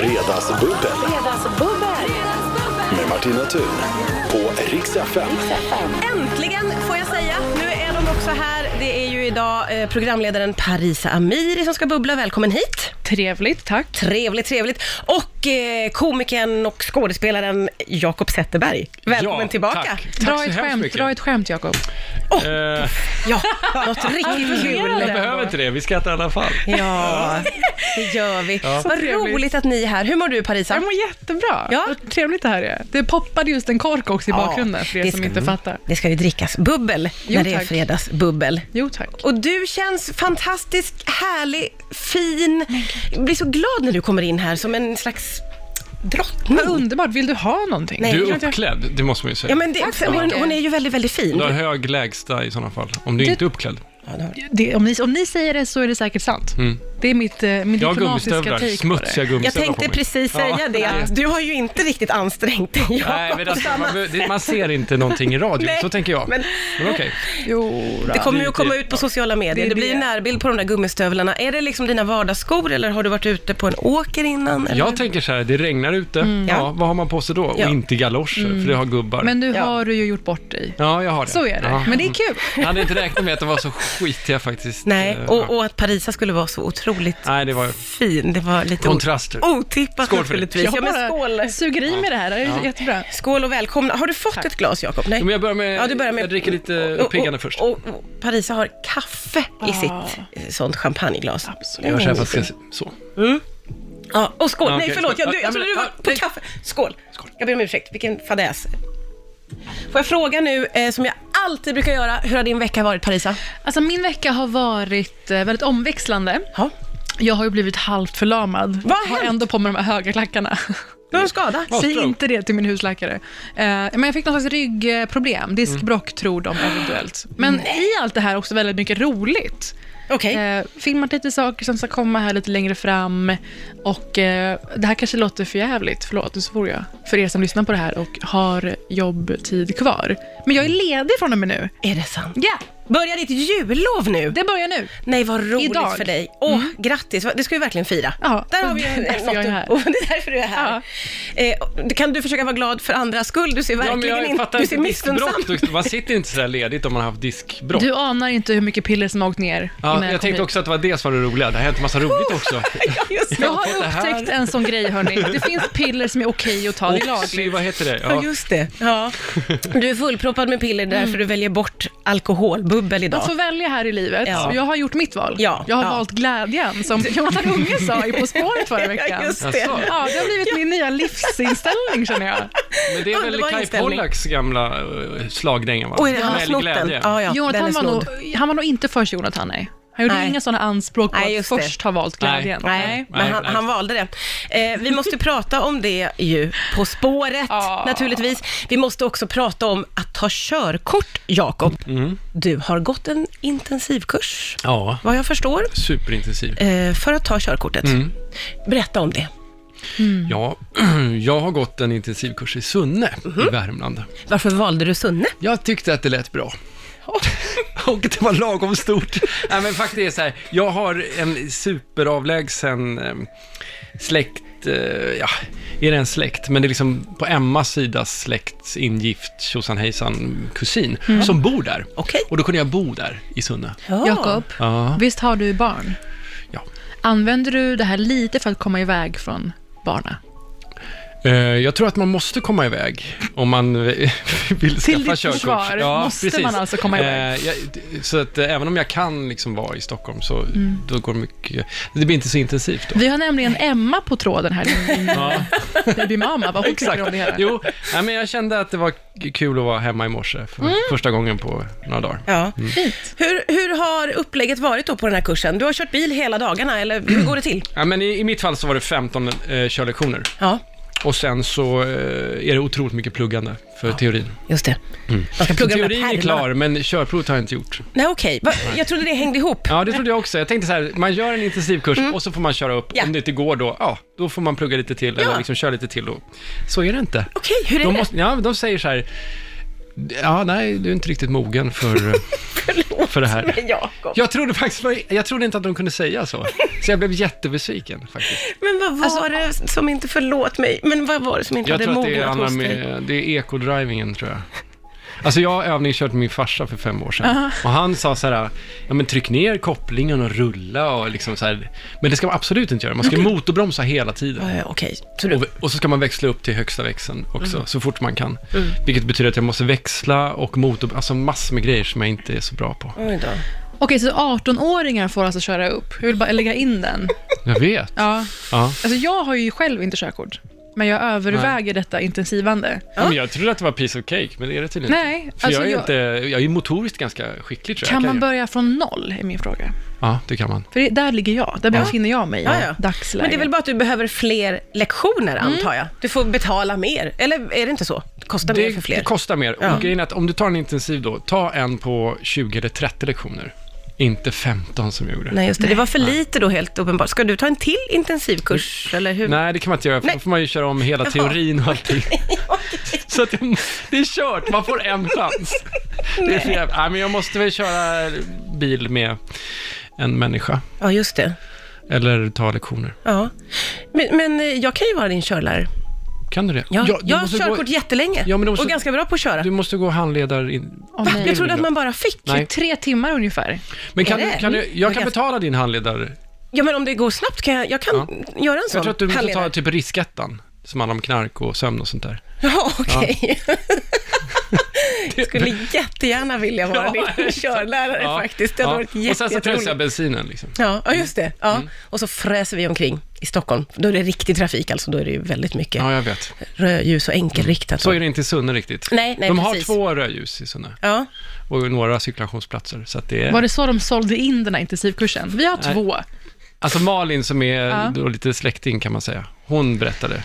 Fredagsbubbel Fredagsbubbel! med Martina Thun på Rix FM. Äntligen får jag säga. Nu är de också här. Det är ju idag eh, programledaren Parisa Amiri som ska bubbla. Välkommen hit. Trevligt, tack. Trevligt, trevligt. Och eh, komikern och skådespelaren Jakob Zetterberg. Välkommen Ja, tillbaka. Tack, tack Dra så ett, hemskt skämt, mycket. dra ett skämt, Jakob. Eh, Ja, något riktigt jag kul. behöver inte det, vi skrattar i alla fall. Ja, det gör vi. Vad trevligt. roligt att ni är här. Hur mår du Parisa? Jag mår jättebra. Ja. Vad trevligt det här är. Det poppade just en kork också i bakgrunden, för det er som ska- inte fattar. Det ska ju drickas bubbel Jo, när det är tack. fredagsbubbel. Jo, tack. Och du känns fantastisk, härlig, fin. Jag blir så glad när du kommer in här som en slags Vad drottning. underbart. Vill du ha någonting? Nej. Du Jag är tror att jag- uppklädd, det måste man ju säga. Ja, men det, Tack så hon, mycket. hon är ju väldigt, väldigt fin. Du har hög lägsta i sådana fall, om du inte är uppklädd. Det, om, ni, om ni säger det så är det säkert sant. Det är mitt, eh, min Jag har diplomatiska take på gummistövlar, det. smutsiga gummistövlar Jag på tänkte mig. precis Ja, säga det, att du har ju inte riktigt ansträngt dig. Jakob, Nej, men på alltså, samma man, sätt. be- man ser inte någonting i radio, Nej, så tänker jag. men- Men, okej. Jo, då. Det kommer ju det- att komma det- ut på sociala medier. Det Det, är blir ju det. närbild på de där gummistövlarna. Är det liksom dina vardagsskor eller har du varit ute på en åker innan? Eller? Jag tänker så här, det regnar ute, Ja. ja, vad har man på sig då? Ja. Och inte galoscher, för det har gubbar. Men nu Ja. har du ju gjort bort dig. Ja, jag har det. Så är det. Ja. Men det är kul. Jag hade inte räknat med att de var så skitiga faktiskt. Nej, Eh, och, ja. och att Parisa skulle vara så otroligt Nej, det var fin. Det var lite o- Kontraster. otippat Skål för det. naturligtvis. Ja, men skål. suger i mig det här. Det är jättebra. skål och välkomna. Har du fått ett glas Jakob? Nej. Men jag börjar med, Ja, du börjar med... jag dricker lite uppiggande först. Ah. Och, och, och Parisa har kaffe i sitt eh, sånt champagneglas. jag gör så här för att jag ska se- så. Ja, och skål. Ja, Nej, okej. förlåt. Jag, du, Ja, jag trodde men- du var ja, på kaffe. Skål. Jag ber om ursäkt. Vilken fadäs. Får jag fråga nu, eh, som jag alltid brukar göra, hur har din vecka varit Parisa? Alltså, min vecka har varit eh, väldigt omväxlande. Ja. Jag har ju blivit halvt förlamad. Vad har har hänt? ändå på mig de här höga klackarna. Du har en skada? Vad Säg stroke? inte det till min husläkare. Eh, men jag fick någon slags ryggproblem, diskbråck tror de Mm. eventuellt. Men i allt det här också väldigt mycket roligt. Okej. Eh, filmat lite saker som ska komma här lite längre fram. Och eh, det här kanske låter för jävligt, förlåt, nu svor jag. För er som lyssnar på det här och har jobbtid kvar. Men jag är Mm. ledig från och med nu. Är det sant? Ja, Börjar ditt jullov nu? det börjar nu. Nej, vad roligt Idag. för dig. Åh, grattis. Det ska vi verkligen fira. Ja, Där har vi det är ju därför något. jag är här. Och det är därför du är här. Eh, och kan du försöka vara glad för andras skull? Du ser Ja, men verkligen jag inte... fattar Du ser inte missunnsam diskbrott. Du- Man sitter inte så här ledigt om man har haft diskbrott. Du anar inte hur mycket piller som har åkt ner. innan ja, jag kom tänkte hit. också att det var det som var det roliga. Det har hänt massa roligt också. Ja, just det. Jag har här. upptäckt en sån grej, hörni. Det finns piller som är okej att ta, det är Och sy, lagligt. vad heter det? Ja, Ja. just det. Ja. Mm. Du är fullproppad med piller därför du väljer bort alkoholbubbel idag. Man får välja här i livet. Ja. Och Jag har gjort mitt val. Ja, Jag har ja. valt glädjen, som Jonathan Unge sa i På spåret förra veckan. Ja, just det. Jaså? Ja, det har blivit min nya livsinställning, känner jag. Men det är väl Underbar Kai inställning. Pollaks gamla uh, slagdänga, va? Och är det han har Välj snott den? glädje. Ja, ja, den är Jonathan var nog, snodd. han var nog inte först Jonathan, nej. Han gjorde Nej. inga sådana anspråk på Nej, att just det. först ha valt glädjen. Nej, men Nej, han, nej. han valde det. Eh, vi måste prata om det ju På spåret Ja. naturligtvis. Vi måste också prata om att ta körkort, Jakob. Mm. Du har gått en intensivkurs, ja, vad jag förstår, superintensiv. eh, för att ta körkortet. Mm. Berätta om det. Ja, jag har gått en intensivkurs i Sunne Mhm. i Värmland. Varför valde du Sunne? Jag tyckte att det lät bra. Och det var lagom stort. Nej, men faktiskt är det så här, jag har en superavlägsen eh, släkt, eh, ja, är det en släkt? Men det är liksom på Emmas sida släkts ingift, tjosan hejsan, kusin, som bor där. Mm. Okej. Och då kunde jag bo där i Sunne. Ja. Jakob, Ja. visst har du barn? Ja. Använder du det här lite för att komma iväg från barna? Eh, Jag tror att man måste komma iväg om man eh, vill Till skaffa ditt körkort. försvar måste man alltså komma iväg. Eh, jag, så att eh, även om jag kan liksom vara i Stockholm så Mm. då går det mycket... Det blir inte så intensivt då. Vi har nämligen Emma på tråden här, din, din babymamma. Vad hon tycker om det hela. Jo, nej, men jag kände att det var k- kul att vara hemma i morse för Mm. första gången på några dagar. Ja. Hur, hur har upplägget varit då på den här kursen? Du har kört bil hela dagarna, eller hur går det till? Ja, men i, I mitt fall så var det 15 eh, körlektioner Ja, och sen så eh, är det otroligt mycket pluggande för teorin. just det. Man ska Så plugga de här teorin är pärlorna. klar, men körprovet har jag inte gjort. Nej, okej. Va? Jag trodde det hängde ihop. Ja, det trodde jag också. Jag tänkte så här, man gör en intensivkurs och så får man köra upp. Ja. Om det inte går då, ja, då får man plugga lite till Ja. eller liksom köra lite till. Och. Så är det inte. Okej, hur är De, det? måste, ja, de säger så här, Ja, nej, du är inte riktigt mogen för, för det här. Men Jakob. Jag trodde faktiskt, jag trodde inte att de kunde säga så. Så jag blev jättebesviken faktiskt. Men vad var det som inte, förlåt mig, men vad var det som inte Jag hade tror att det mognat är, Anna hos dig? med, det är ekodrivingen tror jag. Alltså jag har övningskört med min farsa för fem år sedan. Och han sa så här, ja men tryck ner kopplingen och rulla och liksom så här. Men det ska man absolut inte göra, man ska motorbromsa hela tiden. Eh, Okej, så du, Och, och så ska man växla upp till högsta växeln också, så fort man kan. Vilket betyder att jag måste växla och motor, alltså massor med grejer som jag inte är så bra på. oj då. Okej, så 18-åringar får alltså köra upp. Jag vill bara lägga in den. Jag vet. Ja. Ja. Alltså, jag har ju själv inte körkort, men jag överväger detta intensivande. Ja, men jag trodde att det var piece of cake, men det är det tydligen inte. Nej, För alltså jag, är jag- Inte, jag är ju motoriskt ganska skicklig tror jag. Kan jag man ju- börja från noll, är min fråga. Ja, det kan man. För det- där ligger jag, där befinner jag mig i Ja, ja. dagsläget. Men det är väl bara att du behöver fler lektioner, antar jag? Du får betala mer, eller är det inte så? Det kostar mer för Det, fler. det kostar mer. Ja. Och grejen är att om du tar en intensiv då, ta en på 20 eller 30 lektioner. Inte 15 som jag gjorde. Nej, just det. Det var för lite då, helt uppenbart. Ska du ta en till intensivkurs, eller hur? Nej, det kan man inte göra, för Nej. då får man ju köra om hela teorin och allting. Så att jag, det är kört, man får en chans. Det är för jävla, nej, men jag måste väl köra bil med en människa, Ja, just det. eller ta lektioner. Ja. Men, men eh, jag kan ju vara din körlärare. Kan du det? Ja, Ja, du jag har måste körkort gå, jättelänge Ja, men du måste- och ganska bra på att köra. Du måste gå handledar... In, Åh, nej. Jag trodde att man bara fick. Nej. Tre timmar ungefär. Men kan, Är du- det? Mm. kan du, jag kan Ganska- betala din handledare. Ja, men om det går snabbt kan jag, jag kan göra en sån. Jag tror att du måste ta handledare. typ riskettan, som handlar om knark och sömn och sånt där. Ja, okej. jag skulle jättegärna vilja vara din körlärare faktiskt. Det hade varit Och sen så pressar jag Mm. jätteroligt. bensinen liksom. Ja, ja, just det. Ja. Och så fräser vi omkring i Stockholm. Då är det riktig trafik, alltså. Då är det ju väldigt mycket Ja, jag vet. rödljus och enkelriktat. Så är det inte i Sunne riktigt. Nej, nej, De har precis. två rödljus i Sunne Ja. och några cirkulationsplatser. Så att det är... Var det så de sålde in den här intensivkursen? Vi har Nej. två. Alltså Malin som är Ja. då lite släkting kan man säga, hon berättade.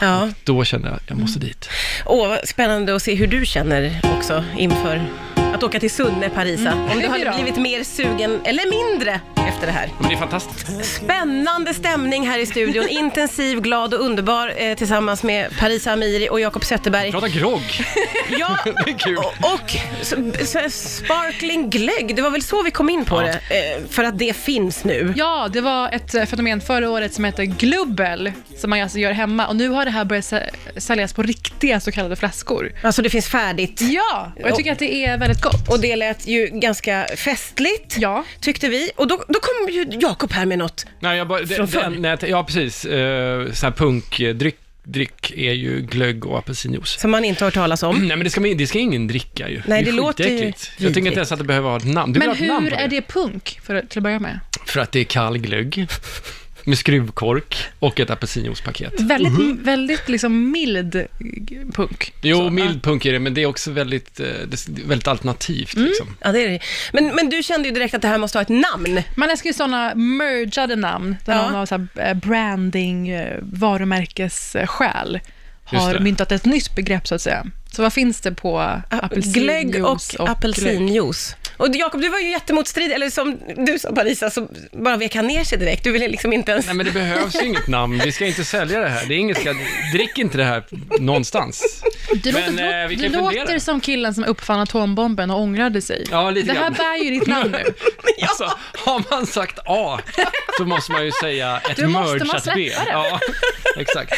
ja. Då kände jag, jag Mm. måste dit. Åh, vad spännande att se hur du känner också inför att åka till Sunne, Parisa. Mm. Om du det hade blir bra. blivit mer sugen, eller mindre, efter det här. Men det är fantastiskt. Spännande stämning här i studion. Intensiv, glad och underbar eh, tillsammans med Parisa Amiri och Jakob Zetterberg. Prata grogg. Ja, Det är kul. och, och så, så, sparkling glögg. Det var väl så vi kom in på Ja. det, eh, för att det finns nu. Ja, det var ett eh, fenomen förra året som hette glubbel, som man alltså gör hemma. Och nu har det här börjat sä- säljas på riktiga så kallade flaskor. Alltså det finns färdigt. Ja, och jag tycker att det är väldigt gott. Och det lät ju ganska festligt, Ja. tyckte vi. Och då, då kom ju Jakob här med något. Nej, jag bara, Från det, förr. den, nej, jag t- ja, precis. Uh, så här punkdryck dryck är ju glögg och apelsinjuice. Som man inte har hört talas om. Nej men det ska, man- det ska ingen dricka ju. Nej, är det låter ju skitäckligt. Jag vidrigt. tänker inte ens att det behöver ha ett namn. Du vill Men ha ett namn hur på är det punk, för, till att börja med? För att det är kall glögg med skruvkork och ett apelsinjuicepaket. Väldigt, Mhm. väldigt liksom mild eh, punk. Jo, Så, mild punk är det, men det är också väldigt, eh, det är väldigt alternativt Mm. liksom. Ja, det är det. Men, men du kände ju direkt att det här måste ha ett namn. Man älskar ju sådana mergade namn, där Ja. någon av så här eh, branding, eh, varumärkesskäl Just har det. myntat ett nytt begrepp så att säga. Så vad finns det på apelsinjuice glögg och, glögg? apelsinjuice. Och du, Jakob, du var ju jättemotstridig, eller som du sa Parisa, så bara vek han ner sig direkt. Du ville liksom inte ens... Nej men det behövs ju inget namn, vi ska inte sälja det här. Det är inget, ska, drick inte det här någonstans. Du Men, låter, eh, vi du kan fundera. låter som killen som uppfann atombomben och ångrade sig. Ja, lite det här grann. bär ju ditt namn nu. Alltså, har man sagt A, så måste man ju säga ett Då måste man mergeat B. släppa det. Ja, exakt.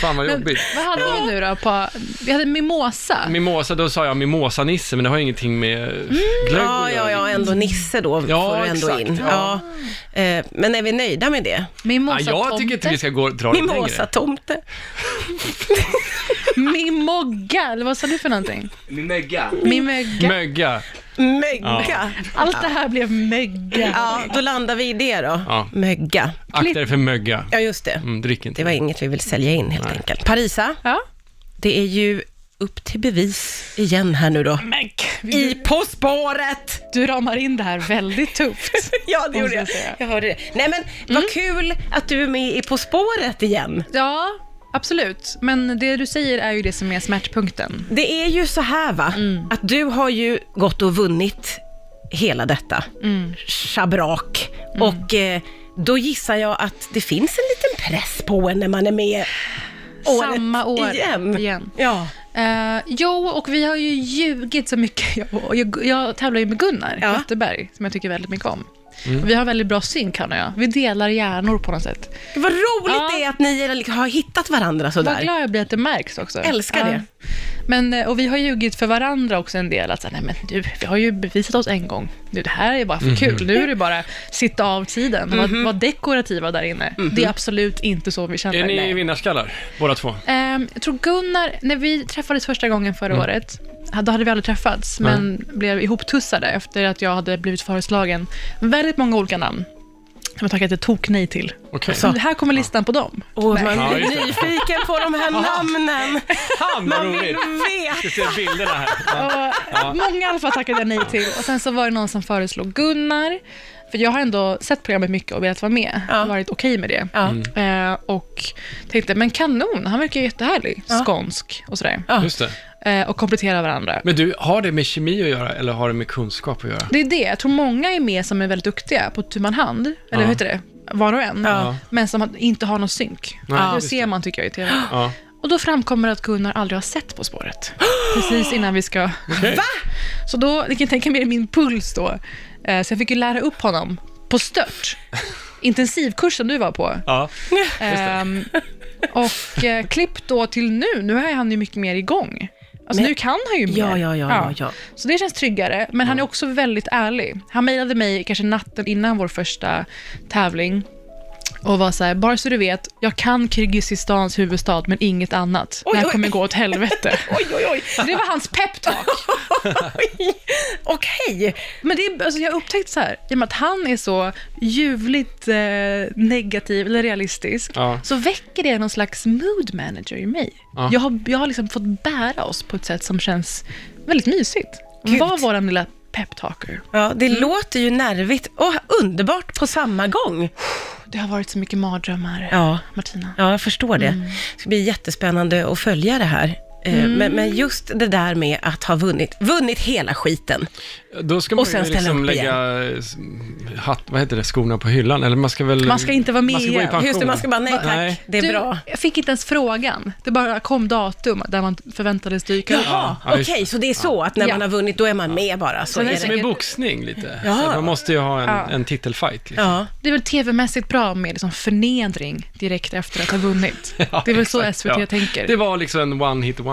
Fan vad Men, jobbigt. vad hade vi nu då? På, vi hade mimosa. Mimosa, då sa jag mimosa-Nisse, men det har ju ingenting med Mm. glögg Ja, att ja, göra. ja, ändå Nisse då Ja, får du ändå exakt, in. Ja. ja. Eh, Men är vi nöjda med det? Ja, mimosa jag tycker inte vi ska gå, dra det längre. Mimosa-tomte. Mimogga, eller vad sa du för någonting? Mimögga. Mimögga. Mögga. Mögga. Ja. Ja. Allt det här blev mögga. då landar vi i det då. Ja. Mögga. Akta dig för mögga. Ja, just det. Mm, drick inte. Det var inget vi vill sälja in helt enkelt. Parisa, Ja. det är ju upp till bevis igen här nu då. Men I du, På spåret! du ramar in det här väldigt tufft. Ja, det gjorde Måste jag. jag säga. Mm. Jag hörde det. Nej, men vad kul att du är med i På spåret igen. Ja, absolut. Men det du säger är ju det som är smärtpunkten. Det är ju så här, va, Mm. att du har ju gått och vunnit hela detta Mm. schabrak. Och eh, då gissar jag att det finns en liten press på en när man är med året Samma år igen. igen. Ja. Eh, jo, och vi har ju ljugit så mycket. Jag, och jag, jag tävlar ju med Gunnar Ja. Wetterberg, som jag tycker väldigt mycket om. Vi har väldigt bra synk, han och jag. Vi delar hjärnor på något sätt. Vad roligt Ja. det är att ni är- liksom har hittat varandra Vad sådär. glad jag blir att det märks också. Älskar det. Men, eh, och vi har ljugit för varandra också en del. Att, så här, nej men du, vi har ju bevisat oss en gång. Nu, det här är bara för kul. Nu är det bara sitta av tiden. Var, var dekorativa där inne. Det är absolut inte så vi känner. Är ni nej. vinnarskallar, båda två? Ehm, jag tror Gunnar, när vi träffades första gången förra året, då hade vi aldrig träffats, men blev ihoptussade efter att jag hade blivit föreslagen väldigt många olika namn. Som jag tackat ett tok nej till. Okej. Så här kommer listan på dem. Och man Ja, blir just det. nyfiken på de här namnen. Fan vad Man vill roligt! veta. Du ser bilderna här. Ja. Och Många i alla fall tackade jag nej till. Och sen så var det någon som föreslog Gunnar. För jag har ändå sett programmet mycket och velat vara med. Ja. Varit okej med det. Ja. Eh, och tänkte, men kanon, han verkar ju jättehärlig. Skånsk och sådär. Ja. Just det. Eh, och komplettera varandra. Men du, har det med kemi att göra eller har det med kunskap att göra? Det är det. Jag tror många är med som är väldigt duktiga på tu man hand, eller hur heter det? Var och en. Ja. Men som har- inte har någon synk. Nej, det just ser man tycker jag i TV. Ja. Och då framkommer att Gunnar aldrig har sett På spåret. Precis innan vi ska... Okej. Så då, ni kan tänka mig min puls då. Eh, Så jag fick ju lära upp honom på stört. Intensivkursen du var på. Ja. Ehm, och eh, klipp då till nu, nu är han ju mycket mer igång. Alltså Men- nu kan han ju mer. Ja, ja, ja, ja, ja. Så det känns tryggare, men han är också väldigt ärlig. Han mejlade mig kanske natten innan vår första tävling och var så här, bara så du vet, jag kan Kirgizistans huvudstad men inget annat. det här Oj, oj. kommer gå åt helvete. Oj, oj, oj. Det var hans peptalk. Okej. Men det är, alltså jag har upptäckt så här, i och med att han är så ljuvligt eh, negativ eller realistisk, Ja. så väcker det någon slags mood manager i mig. Ja. Jag, har, jag har liksom fått bära oss på ett sätt som känns väldigt mysigt. Gud. Var vår lilla peptalker. Ja, det Mm. låter ju nervigt och underbart på samma gång. Det har varit så mycket mardrömmar, Ja. Martina. Ja, jag förstår det. Mm. Det ska bli jättespännande att följa det här. Eh, Men, men just det där med att ha vunnit, vunnit hela skiten. Då ska man Och sen ju ställa liksom upp igen. lägga eh, s- hatt, vad heter det, skorna på hyllan. Eller man ska väl... Man ska inte vara med man ska gå i igen. pension. Just det, man ska bara, nej tack, Nej. det är bra. Jag fick inte ens frågan. Det bara kom datum där man förväntades dyka upp. Jaha, Ja, okej, just det. så det är så att när Ja. man har vunnit, då är man med bara. Så Men är det- Som det. en boxning lite. Ja. Så man måste ju ha en, Ja. en titelfight. Liksom. Ja. Det är väl tv-mässigt bra med liksom förnedring direkt efter att ha vunnit. Ja, det är väl så exakt, SVT ja. tänker. Det var liksom en one hit wonder.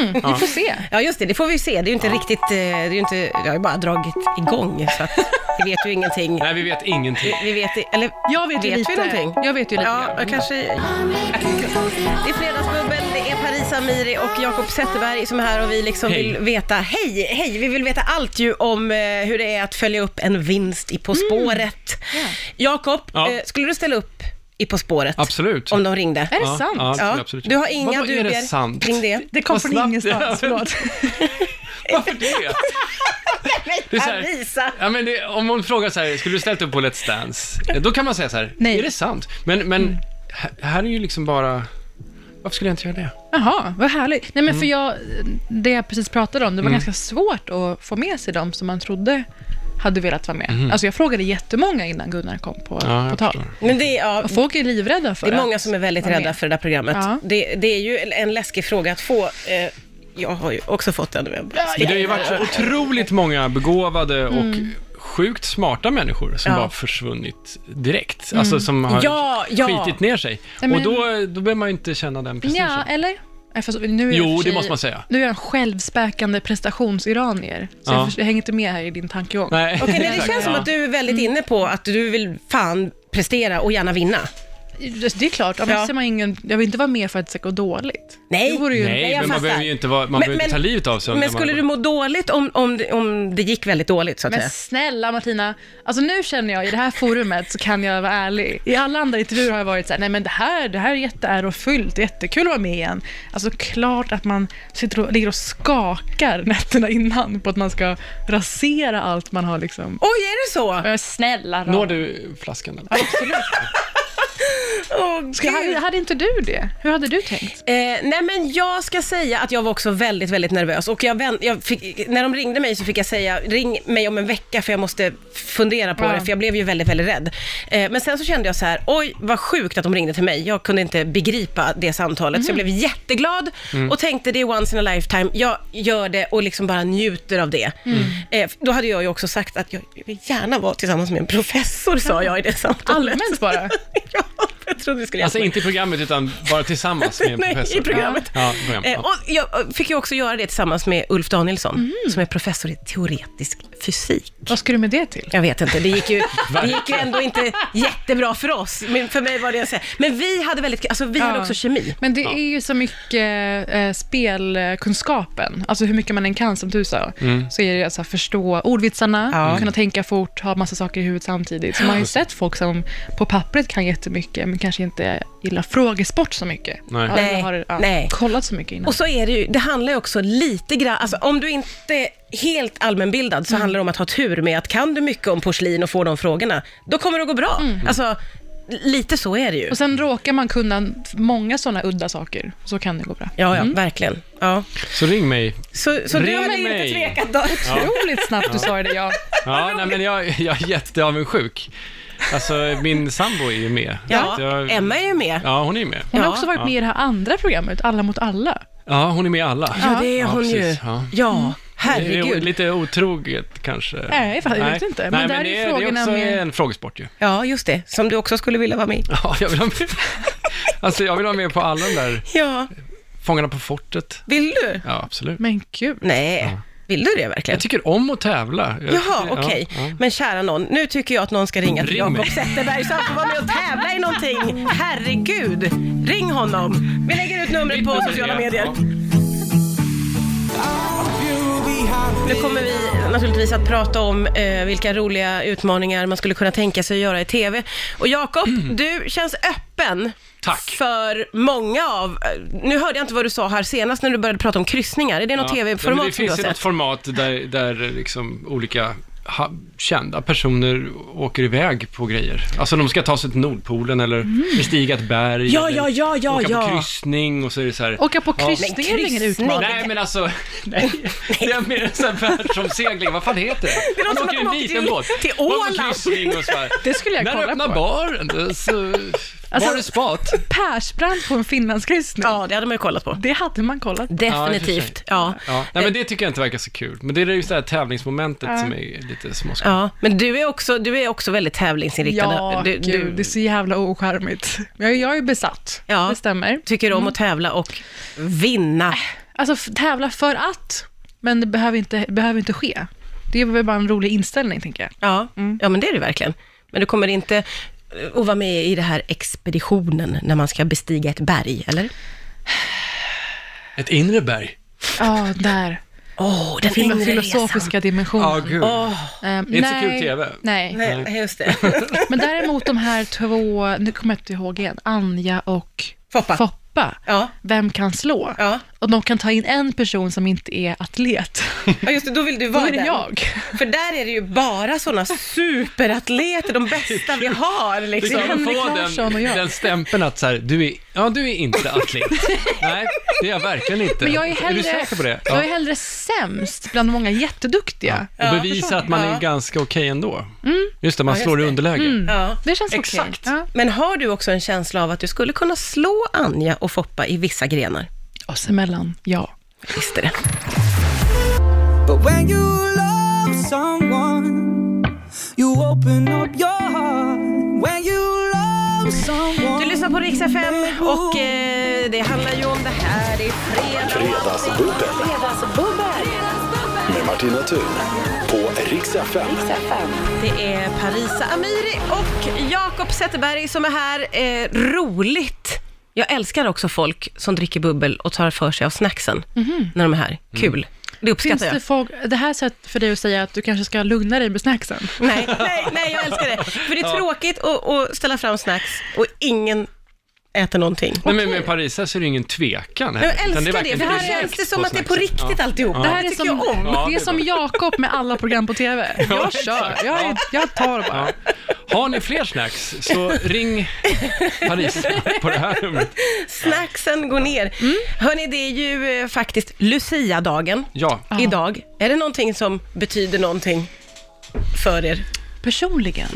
Mm, Vi får se. ja, just det, det får vi ju se. Det är ju inte riktigt, eh, det är ju inte, jag har ju bara dragit igång, så att vi vet ju ingenting. Nej, vi vet ingenting. Vi vet, i- eller Jag vet ju vet lite. vi någonting? Jag vet ju lite. Ja, jag kanske... Det är Fredagsbubbel, det är Parisa Amiri och Jakob Zetterberg som är här och vi liksom Hej. vill veta, hej, hej, vi vill veta allt ju om eh, hur det är att följa upp en vinst i På spåret. Jakob, Mm. Ja. eh, skulle du ställa upp i På spåret? Absolut. Om de ringde? Är det Ja, sant? ja. Ja, absolut. du har inga Vadå, är det dubier sant? kring det? Det kom Vad från snabbt. ingenstans. Ja. Förlåt. Varför det? Det är så här- Parisa! Ja, men det, om man frågar så här, skulle du ställt upp på Let's Dance? Eh, Då kan man säga så här, Nej. är det sant? Men, men Mm. här, här är ju liksom bara, varför skulle jag inte göra det? Jaha, vad härligt. Nej, men Mm. för jag, det jag precis pratade om, det var ganska svårt att få med sig de som man trodde hade velat vara med. Alltså jag frågade jättemånga innan Gunnar kom på, Mm-hmm. Ja, jag på tal. förstår. Men det är, ja, Och folk är livrädda för det är att många som är väldigt vara rädda med. för det där programmet. Ja. Det, det är ju en- en läskig fråga att få. Eh, jag har ju också fått den. men jag bara- Men det har ju varit så otroligt många begåvade och sjukt smarta människor som Ja. Mm. bara försvunnit direkt. Alltså som har Ja, ja. skitit ner sig. men- Och då, då behöver man ju inte känna den prestigen. Ja, eller? Nej, fast Nu är jag Jo, i och för det måste man säga. Nu är jag en självspäkande prestationsiranier. Så Ja. jag, för, jag hänger inte med här i din tankegång. Nej. Okej, nej, det Exakt, Mm. känns som ja. att du är väldigt inne på att du vill fan prestera och gärna vinna. Det det är klart, annars Ja. är man ingen, jag vill inte vara med för att det ska gå dåligt. Nej. Det vore ju Nej, jag men man fattar. behöver ju inte, vara, man behöver inte ta livet av sig. om Men man- skulle du må dåligt om, om, det- om det gick väldigt dåligt, så att Men säga? snälla Martina, alltså nu känner jag i det här forumet så kan jag vara ärlig. I alla andra intervjuer har jag varit så här, nej men det här, det här är jätteärofyllt, det är jättekul att vara med igen. Alltså klart att man sitter och, ligger och skakar nätterna innan på att man ska rasera allt man har liksom. Eh, Oj, är det så? Men Snälla Når rara. du flaskan eller? Åh, Ska, hade, gud. hade inte du det? Hur hade du tänkt? Eh, nej men jag ska säga att jag var också väldigt, väldigt nervös och jag vänt, jag fick, när de ringde mig så fick jag säga ring mig om en vecka för jag måste fundera på Ja. det för jag blev ju väldigt, väldigt rädd. Eh, men sen så kände jag så här, oj vad sjukt att de ringde till mig. Jag kunde inte begripa det samtalet så jag Mhm. blev jätteglad och tänkte det är once in a lifetime. Jag gör det och liksom bara njuter av det. Mm. Eh, då hade jag ju också sagt att jag vill gärna vara tillsammans med en professor sa jag i det samtalet. Allmänt bara. ja, jag trodde det skulle hjälpa Alltså mig. inte i programmet, utan bara tillsammans med en Nej, professor. i programmet. Ja, i programmet. Eh, Ja. och jag fick ju också göra det tillsammans med Ulf Danielsson, Mm. som är professor i teoretisk fysik. Vad ska du med det till? Jag vet inte, det gick ju, det Verkligen. gick ju ändå inte jättebra för oss, men för mig var det en så här. Men vi hade väldigt, alltså vi hade Ja. också kemi. Men det är ju så mycket eh, spelkunskapen, alltså hur mycket man än kan, som du sa, så är det alltså att förstå ordvitsarna, Ja. kunna tänka fort, ha massa saker i huvudet samtidigt. Så man har ju sett folk som på pappret kan jättemycket, men kanske inte gillar frågesport så mycket. Nej. Ja, Nej. Eller har ja, Nej. kollat så mycket innan. Och så är det ju, det handlar ju också lite grann, alltså om du inte är helt allmänbildad Mm. så handlar det om att ha tur med att kan du mycket om porslin och får de frågorna, då kommer det att gå bra. Alltså, lite så är det ju. Mm. Och sen råkar man kunna många sådana udda saker, så kan det gå bra. Ja, ja, verkligen. Ja. Så ring mig. Så, så du Ring har inte mig. tvekat då? Otroligt snabbt du svarade ja. Ja, nej, men jag, jag är jätteavundsjuk. Alltså, min sambo är ju med. Ja, Så att jag, Emma är ju med. Ja, hon är med. Hon Ja. har också varit med i det här andra programmet, Alla mot alla. Ja, hon är med i alla. Ja, det är Ja, hon ju. precis, ja. Mm. Ja, Det är herregud. lite otroget kanske. Nej, fan, jag vet inte. Men Nej, där är men ju det, är, det är frågorna också med- en frågesport ju. Ja, just det. Som du också skulle vilja vara med i. Ja, jag vill ha med. Alltså, jag vill ha med på alla de där Ja, Fångarna på fortet. vill du? Ja, absolut. Men gud. Nej, vill du det Jag verkligen? tycker om att tävla. Jag Jaha, tycker- ja, okej. ja. Men kära någon, nu tycker jag att någon ska ringa till Ring mig. Jakob Zetterberg så han får vara med och tävla i någonting. Herregud, ring honom. Vi lägger ut numret på nummer är- sociala medier. ja. Nu kommer vi naturligtvis att prata om eh, vilka roliga utmaningar man skulle kunna tänka sig att göra i TV. Och Jakob, du känns öppen Mm. Tack. för många av... eh, Nu hörde jag inte vad du sa här senast när du började prata om kryssningar. Är det något Ja, men TV-format Det som du har finns ju något sett? format där, där liksom olika ha, kända personer åker iväg på grejer. Alltså de ska ta sig till Nordpolen eller bestiga ett berg. Mm. Ja, eller ja, ja, ja, åka ja. på kryssning och så är det så här. Åka på Ja. kryssning Men är väl ingen kryssning? utmaning? Nej, men alltså, nej. det är mer en sån här världsomsegling, vad fan heter det? Det låter som att de åker till- till Åland. kryssning och så här. Det skulle jag När kolla öppnar på. baren? Så, Alltså- var är spat? Persbrandt på en finlandskryssning. Ja, det hade man ju kollat på. Det hade man kollat på. Ja, i och för Definitivt. sig. Ja, Ja, nej, men det tycker jag inte verkar så kul. Men det är just det här tävlingsmomentet som är lite småskoj. ja. Men du är också, du är också väldigt tävlingsinriktad. Ja, du, gud, du det är så jävla ocharmigt. Jag, jag är besatt, Ja. det stämmer. tycker om att tävla och vinna. Alltså f- tävla för att, men det behöver inte, behöver inte ske. Det är väl bara en rolig inställning, tänker jag. Ja, ja men det är det verkligen. Men du kommer inte eh, att vara med i det här expeditionen när man ska bestiga ett berg, eller? Ett inre berg. Ja, där. Åh, den Den inre resan. filosofiska dimensionen. Ja, Mm. gud. Ehm, Det är inte så nej, kul TV. Nej, Nej, just det. men däremot de här två, nu kommer jag inte ihåg igen, Anja och Foppa. Foppa. Ja. Vem kan slå? Ja. Och de kan ta in en person som inte är atlet. ja, just det, då vill du Då vara är det den. jag. För där är det ju bara sådana superatleter, de bästa vi har. Du Liksom. Det är kan Henrik få Larsson den, och jag. den stämpeln att så här, du är, ja du är inte atlet. Nej, det är jag verkligen inte. Men jag är hellre, du säker på det? jag är hellre sämst bland många jätteduktiga. Och bevisa förstår att man ni? är Ja. Mm. ganska okej ändå. Just det, man just slår i det. Mm. underläge. Ja. Det känns okej. Exakt. Ja. Men har du också en känsla av att du skulle kunna slå Anja och Foppa i vissa grenar? Oss emellan, ja. Visste det. But when you love someone, you open up your heart. When you love someone, Du lyssnar på Rix FM och eh, det handlar ju om det här. Det är fredag. Fredagsbubbel med Martina Thun på Rix FM. Det är Parisa Amiri och Jakob Zetterberg som är här. Eh, roligt! Jag älskar också folk som dricker bubbel och tar för sig av snacksen när de är här. Kul. Det uppskattar Mhm. Mm. Finns jag. det, folk, det här sätt för dig att säga att du kanske ska lugna dig med snacksen. Nej, nej, nej, jag älskar det. För det är tråkigt att, att ställa fram snacks och ingen äter någonting. Nej, men med Parisa så är det ingen tvekan. Jag heller, utan älskar det, verkligen- för här är känns det kött som att det är på snacksen. riktigt Ja. alltihopa. Det här är tycker som, jag om. Ja, det det är är som bra. Jakob med alla program på TV. Jag kör, jag, är- jag tar bara. Ja. Har ni fler snacks så ring Paris på det här numret. Snacksen går ner. Mm. Hörni, det är ju eh, faktiskt Lucia-dagen Ja, idag. Är det någonting som betyder någonting för er? Personligen.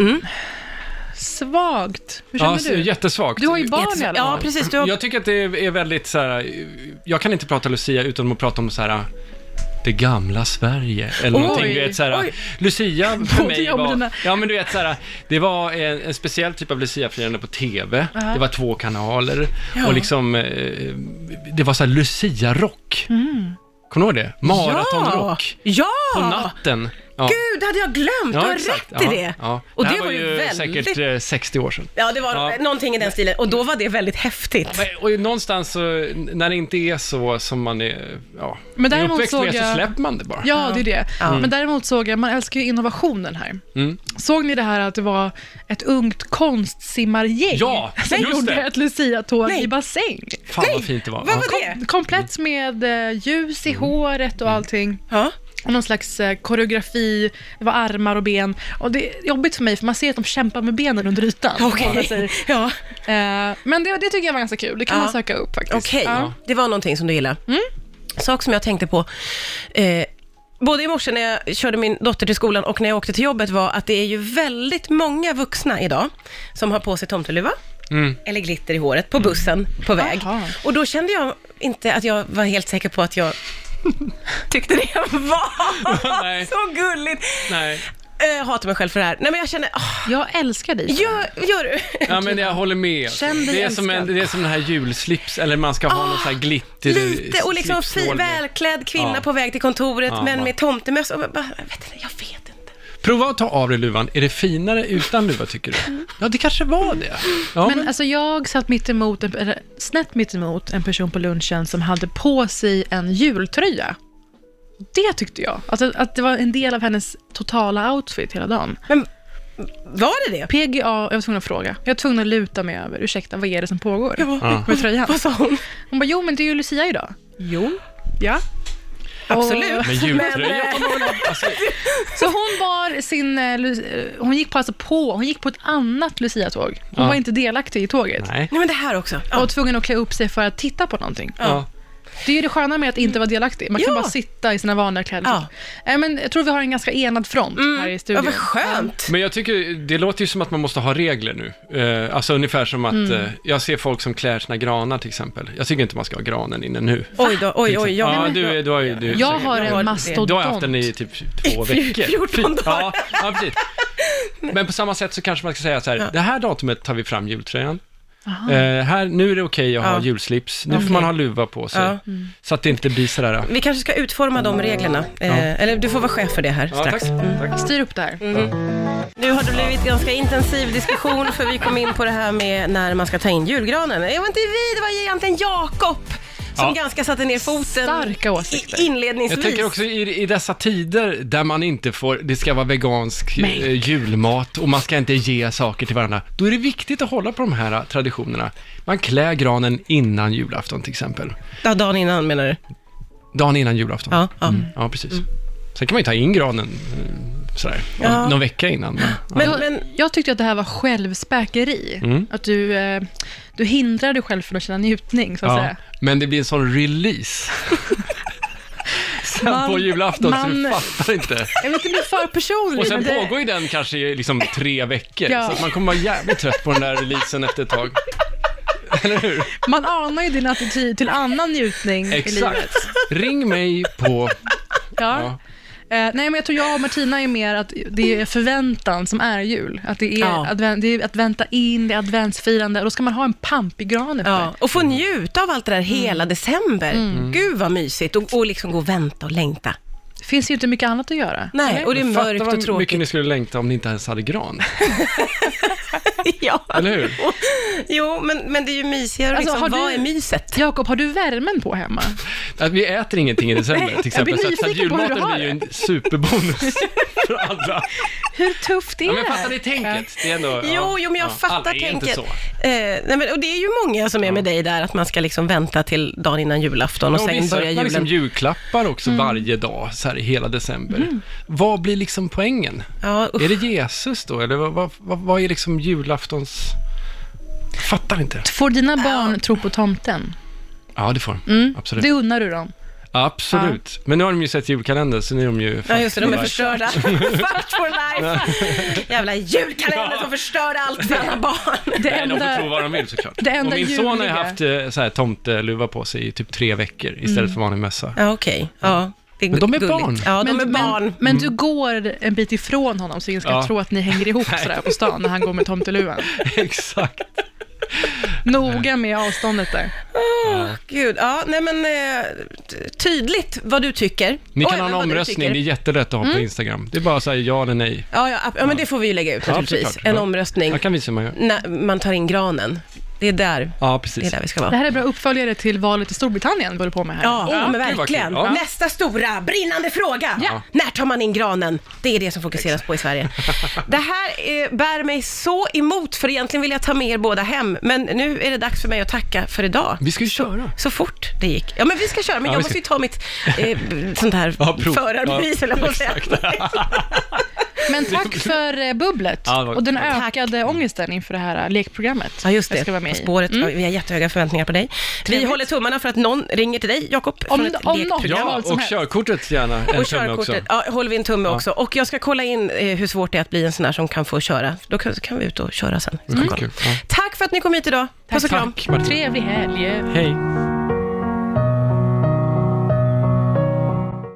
Svagt. Hur känner Mm. ja du? jättesvagt. Du har ju barn i alla Ja, fall. precis. Du har Jag tycker att det är väldigt så här. jag kan inte prata Lucia utan att prata om så här det gamla Sverige eller Oj, någonting. Du vet, så här, oj. Lucia för Både mig jag och var... dina- Ja, men du vet, så här, det var en, en speciell typ av Lucia-firande på TV. Det var två kanaler och liksom, eh, det var så här Lucia-rock. Kommer du ihåg det? Maratonrock. Ja! På Mm. ja! natten. Ja. Gud, det hade jag glömt. du har exakt. rätt i Ja, det. Ja. Och det, här var ju väldigt... säkert eh, 60 år sedan. Ja, det var Ja. någonting i den stilen. Och då var det väldigt häftigt. Men, Och någonstans så, när det inte är så som man är, ja, Men är däremot uppväxt såg med så jag- släpper man det bara. Ja, det är det. Men däremot såg jag, man älskar ju innovationen här. Mm. Såg ni det här att det var ett ungt konstsimmargäng Ja, som just gjorde det. ett luciatåg Nej. i bassäng? Fan vad fint det var. Vad Ja. var det? Kom, komplett med eh, ljus i Mm. håret och allting. Ja. Och någon slags eh, koreografi, det var armar och ben. Och det är jobbigt för mig, för man ser att de kämpar med benen under ytan. Okej. Om man säger. Ja. Eh, men det, det tycker jag var ganska kul, det kan Ja. man söka upp faktiskt. Okej, Ja. Mm. det var någonting som du gillade. Sak som jag tänkte på, eh, både i morse när jag körde min dotter till skolan och när jag åkte till jobbet var att det är ju väldigt många vuxna idag som har på sig tomteluva eller glitter i håret på bussen på väg. Mm. Aha. Och då kände jag inte att jag var helt säker på att jag tyckte det var Nej. så gulligt. Nej. Eh, Jag hatar mig själv för det här. Nej men jag känner, ah, Jag älskar dig. gör, gör du? Ja men jag håller med. Känn dig det, är som en, älskad. det är som den här julslips, eller man ska ha någon sån här glitter... Lite, och liksom slipsnål fi, med. välklädd kvinna Ja. på väg till kontoret, Ja, men ja. med tomtemössa. Och man bara, Jag vet inte, jag vet inte. Prova att ta av dig luvan. Är det finare utan luva tycker du? Ja, det kanske var det. Ja, Mm. Men alltså jag satt mitt emot, en, eller snett mitt emot en person på lunchen som hade på sig en jultröja. Det tyckte jag. Alltså, att det var en del av hennes totala outfit hela dagen. Var det det? PGA, jag var tvungen att fråga. Jag var tvungen att luta mig över. Ursäkta, vad är det som pågår? Ja. Med tröjan. Vad sa hon? Hon bara, jo men det är ju Lucia idag. Jo. Ja. Absolut. Och- men jultröja på någon... Alltså, Så hon var sin, eh, Lu- eh, hon gick på alltså på, hon gick på ett annat Lucia-tåg. Hon Ja. var inte delaktig i tåget. nej. Nej men det här också. Och Ja. var tvungen att klä upp sig för att titta på någonting. Ja. Det är ju det sköna med att inte vara delaktig. Man kan Ja. bara sitta i sina vanliga kläder. Ja. Mm. Nej, men jag tror vi har en ganska enad front här i Ja, studion. vad skönt. Men jag tycker, det låter ju som att man måste ha regler nu. Eh, alltså ungefär som att, eh, jag ser folk som klär sina granar till exempel. Jag tycker inte man ska ha granen inne nu. Oj då, oj, oj. Jag, Liksom. ja, du, är- du har ju... Du, Jag har har en det. mastodont. Du har haft den i typ två veckor. 14 dagar. Ja, ja, precis. Men på samma sätt så kanske man ska säga så här, det här datumet tar vi fram jultröjan. Eh, här, nu är det okej att Ja. ha julslips, nu Okej. får man ha luva på sig. Ja. Så att det inte blir sådär... Vi kanske ska utforma de reglerna. Eh, eller du får vara chef för det här strax. Mm. tack. Styr upp det här. Nu har det blivit ganska intensiv diskussion för vi kom in på det här med när man ska ta in julgranen. Det var inte vi, det var egentligen Jakob som Ja. ganska satte ner foten Starka åsikter. i- inledningsvis. Jag tänker också i, i dessa tider där man inte får, det ska vara vegansk eh, julmat och man ska inte ge saker till varandra. Då är det viktigt att hålla på de här eh, traditionerna. Man klär granen innan julafton till exempel. Ja, dagen innan menar du? Dagen innan julafton. Ja. ja. Ja, precis. Sen kan man ju ta in granen eh, sådär, Ja. någon, någon vecka innan. Men, Men, Jag- men Jag tyckte att det här var självspäkeri. Mm. Att du, eh, du hindrar dig själv från att känna njutning, så att ja. säga. men det blir en sån release. Sen Man- på julafton, så man- du fattar inte. Jag vill inte bli för personlig. Och sen men det- pågår ju den kanske i liksom tre veckor, Ja. så att man kommer vara jävligt trött på den där releasen efter ett tag. Eller hur? Man anar ju din attityd till annan njutning i livet. Exakt. Ring mig på... Ja. Eh, nej, men jag tror jag och Martina är mer att det är förväntan som är jul. Att det är, Ja. adven- det är att vänta in, det är adventsfirande och då ska man ha en pampig gran uppe. Ja, och få njuta av allt det där hela december. Mm. Gud vad mysigt. Och, och liksom gå och vänta och längta. Det finns ju inte mycket annat att göra. Nej, och det är Fatta mörkt vad och tråkigt. mycket ni skulle längta om ni inte ens hade gran. ja. Eller hur? Jo, men, men det är ju mysigare. Alltså, liksom, har vad du- är myset? Jakob, har du värmen på hemma? Att vi äter ingenting i december till jag blir exempel, så att- så att nyfiken på hur du julmaten har blir ju en superbonus. för alla. Hur tufft är Ja, det men här? fattar ni tänket? Det är ändå, Jo, jo, men jag alla fattar är tänket. Inte så. Eh, nej, men, och det är ju många som är med dig där, att man ska liksom vänta till dagen innan julafton och Ja, sen vissa börjar öppnar julen. liksom julklappar också Mm. varje dag, så här i hela december. Vad blir liksom poängen? Ja, Mm. usch. Är det Jesus då, eller vad, vad, vad, vad är liksom julaftons... Jag Fattar inte. Får dina barn tro på tomten? Mm? Ja, det får de. Mm. Absolut. Det unnar du dem? Absolut. Men nu har de ju sett julkalendern, så nu är de ju... Ja, just det, de är fucked. förstörda. Fucked for life! Jävla julkalender som förstör allt för alla barn. Det Nej, de får tro enda, vad de vill såklart. det enda och min son har ju ljuvliga. haft eh, så här, tomteluva på sig i typ tre veckor istället Mm. för vanlig mössa. Ja, okej. Ja, det Men de är gulligt. barn. Ja, de men, är barn. men, men du går en bit ifrån honom så ingen ska Mm. Ja. tro att ni hänger ihop sådär på stan när han går med tomteluvan. Exakt. Noga med avståndet där. Gud, ja, nej men eh, ty- tydligt vad du tycker. Ni Och kan ha även en vad du omröstning, det är tycker. Mm. jättelätt att ha på Instagram. Det är bara att säga ja eller nej. Ja, ja, ab- ja, men det får vi ju lägga ut Ja, naturligtvis. såklart. En Ja. omröstning Jag kan visa hur man gör. när man tar in granen. Det är där, Ja, det är precis. där vi ska Det vara. här är bra uppföljare till valet i Storbritannien vi håller på med här. Ja, Ja, oh, det men var kul. verkligen. Ja. Nästa stora brinnande fråga. Ja. När tar man in granen? Det är det som fokuseras på i Sverige. Det här eh, bär mig så emot, för egentligen vill jag ta med er båda hem, men nu är det dags för mig att tacka för idag. Vi ska ju köra. Så fort det gick. Ja, men vi ska köra, men Ja, jag vi måste ska- ju ta mitt eh, sånt här Ja, prov. förarbevis, Ja, eller vad man säger. Men tack för eh, bubblet Ja, det var- och den Tack. ökade ångesten inför det här eh, lekprogrammet. Ja, just det. Jag ska vara med På i. spåret. Ja, Vi har jättehöga förväntningar på dig. Vi håller tummarna för att någon ringer till dig, Jakob, Om- från ett om någon. lekprogram. Ja, Vad som och helst. körkortet gärna. En Och tumme också. körkortet. Ja, håller vi en tumme också. Och jag ska kolla in eh, hur svårt det är att bli en sån här som kan få köra. Då kan, kan vi ut och köra sen. i Stockholm. Mm, kul. Ja. Tack för att ni kom hit idag. Puss och kram. Tack, Martina. Trevlig helg. Hej.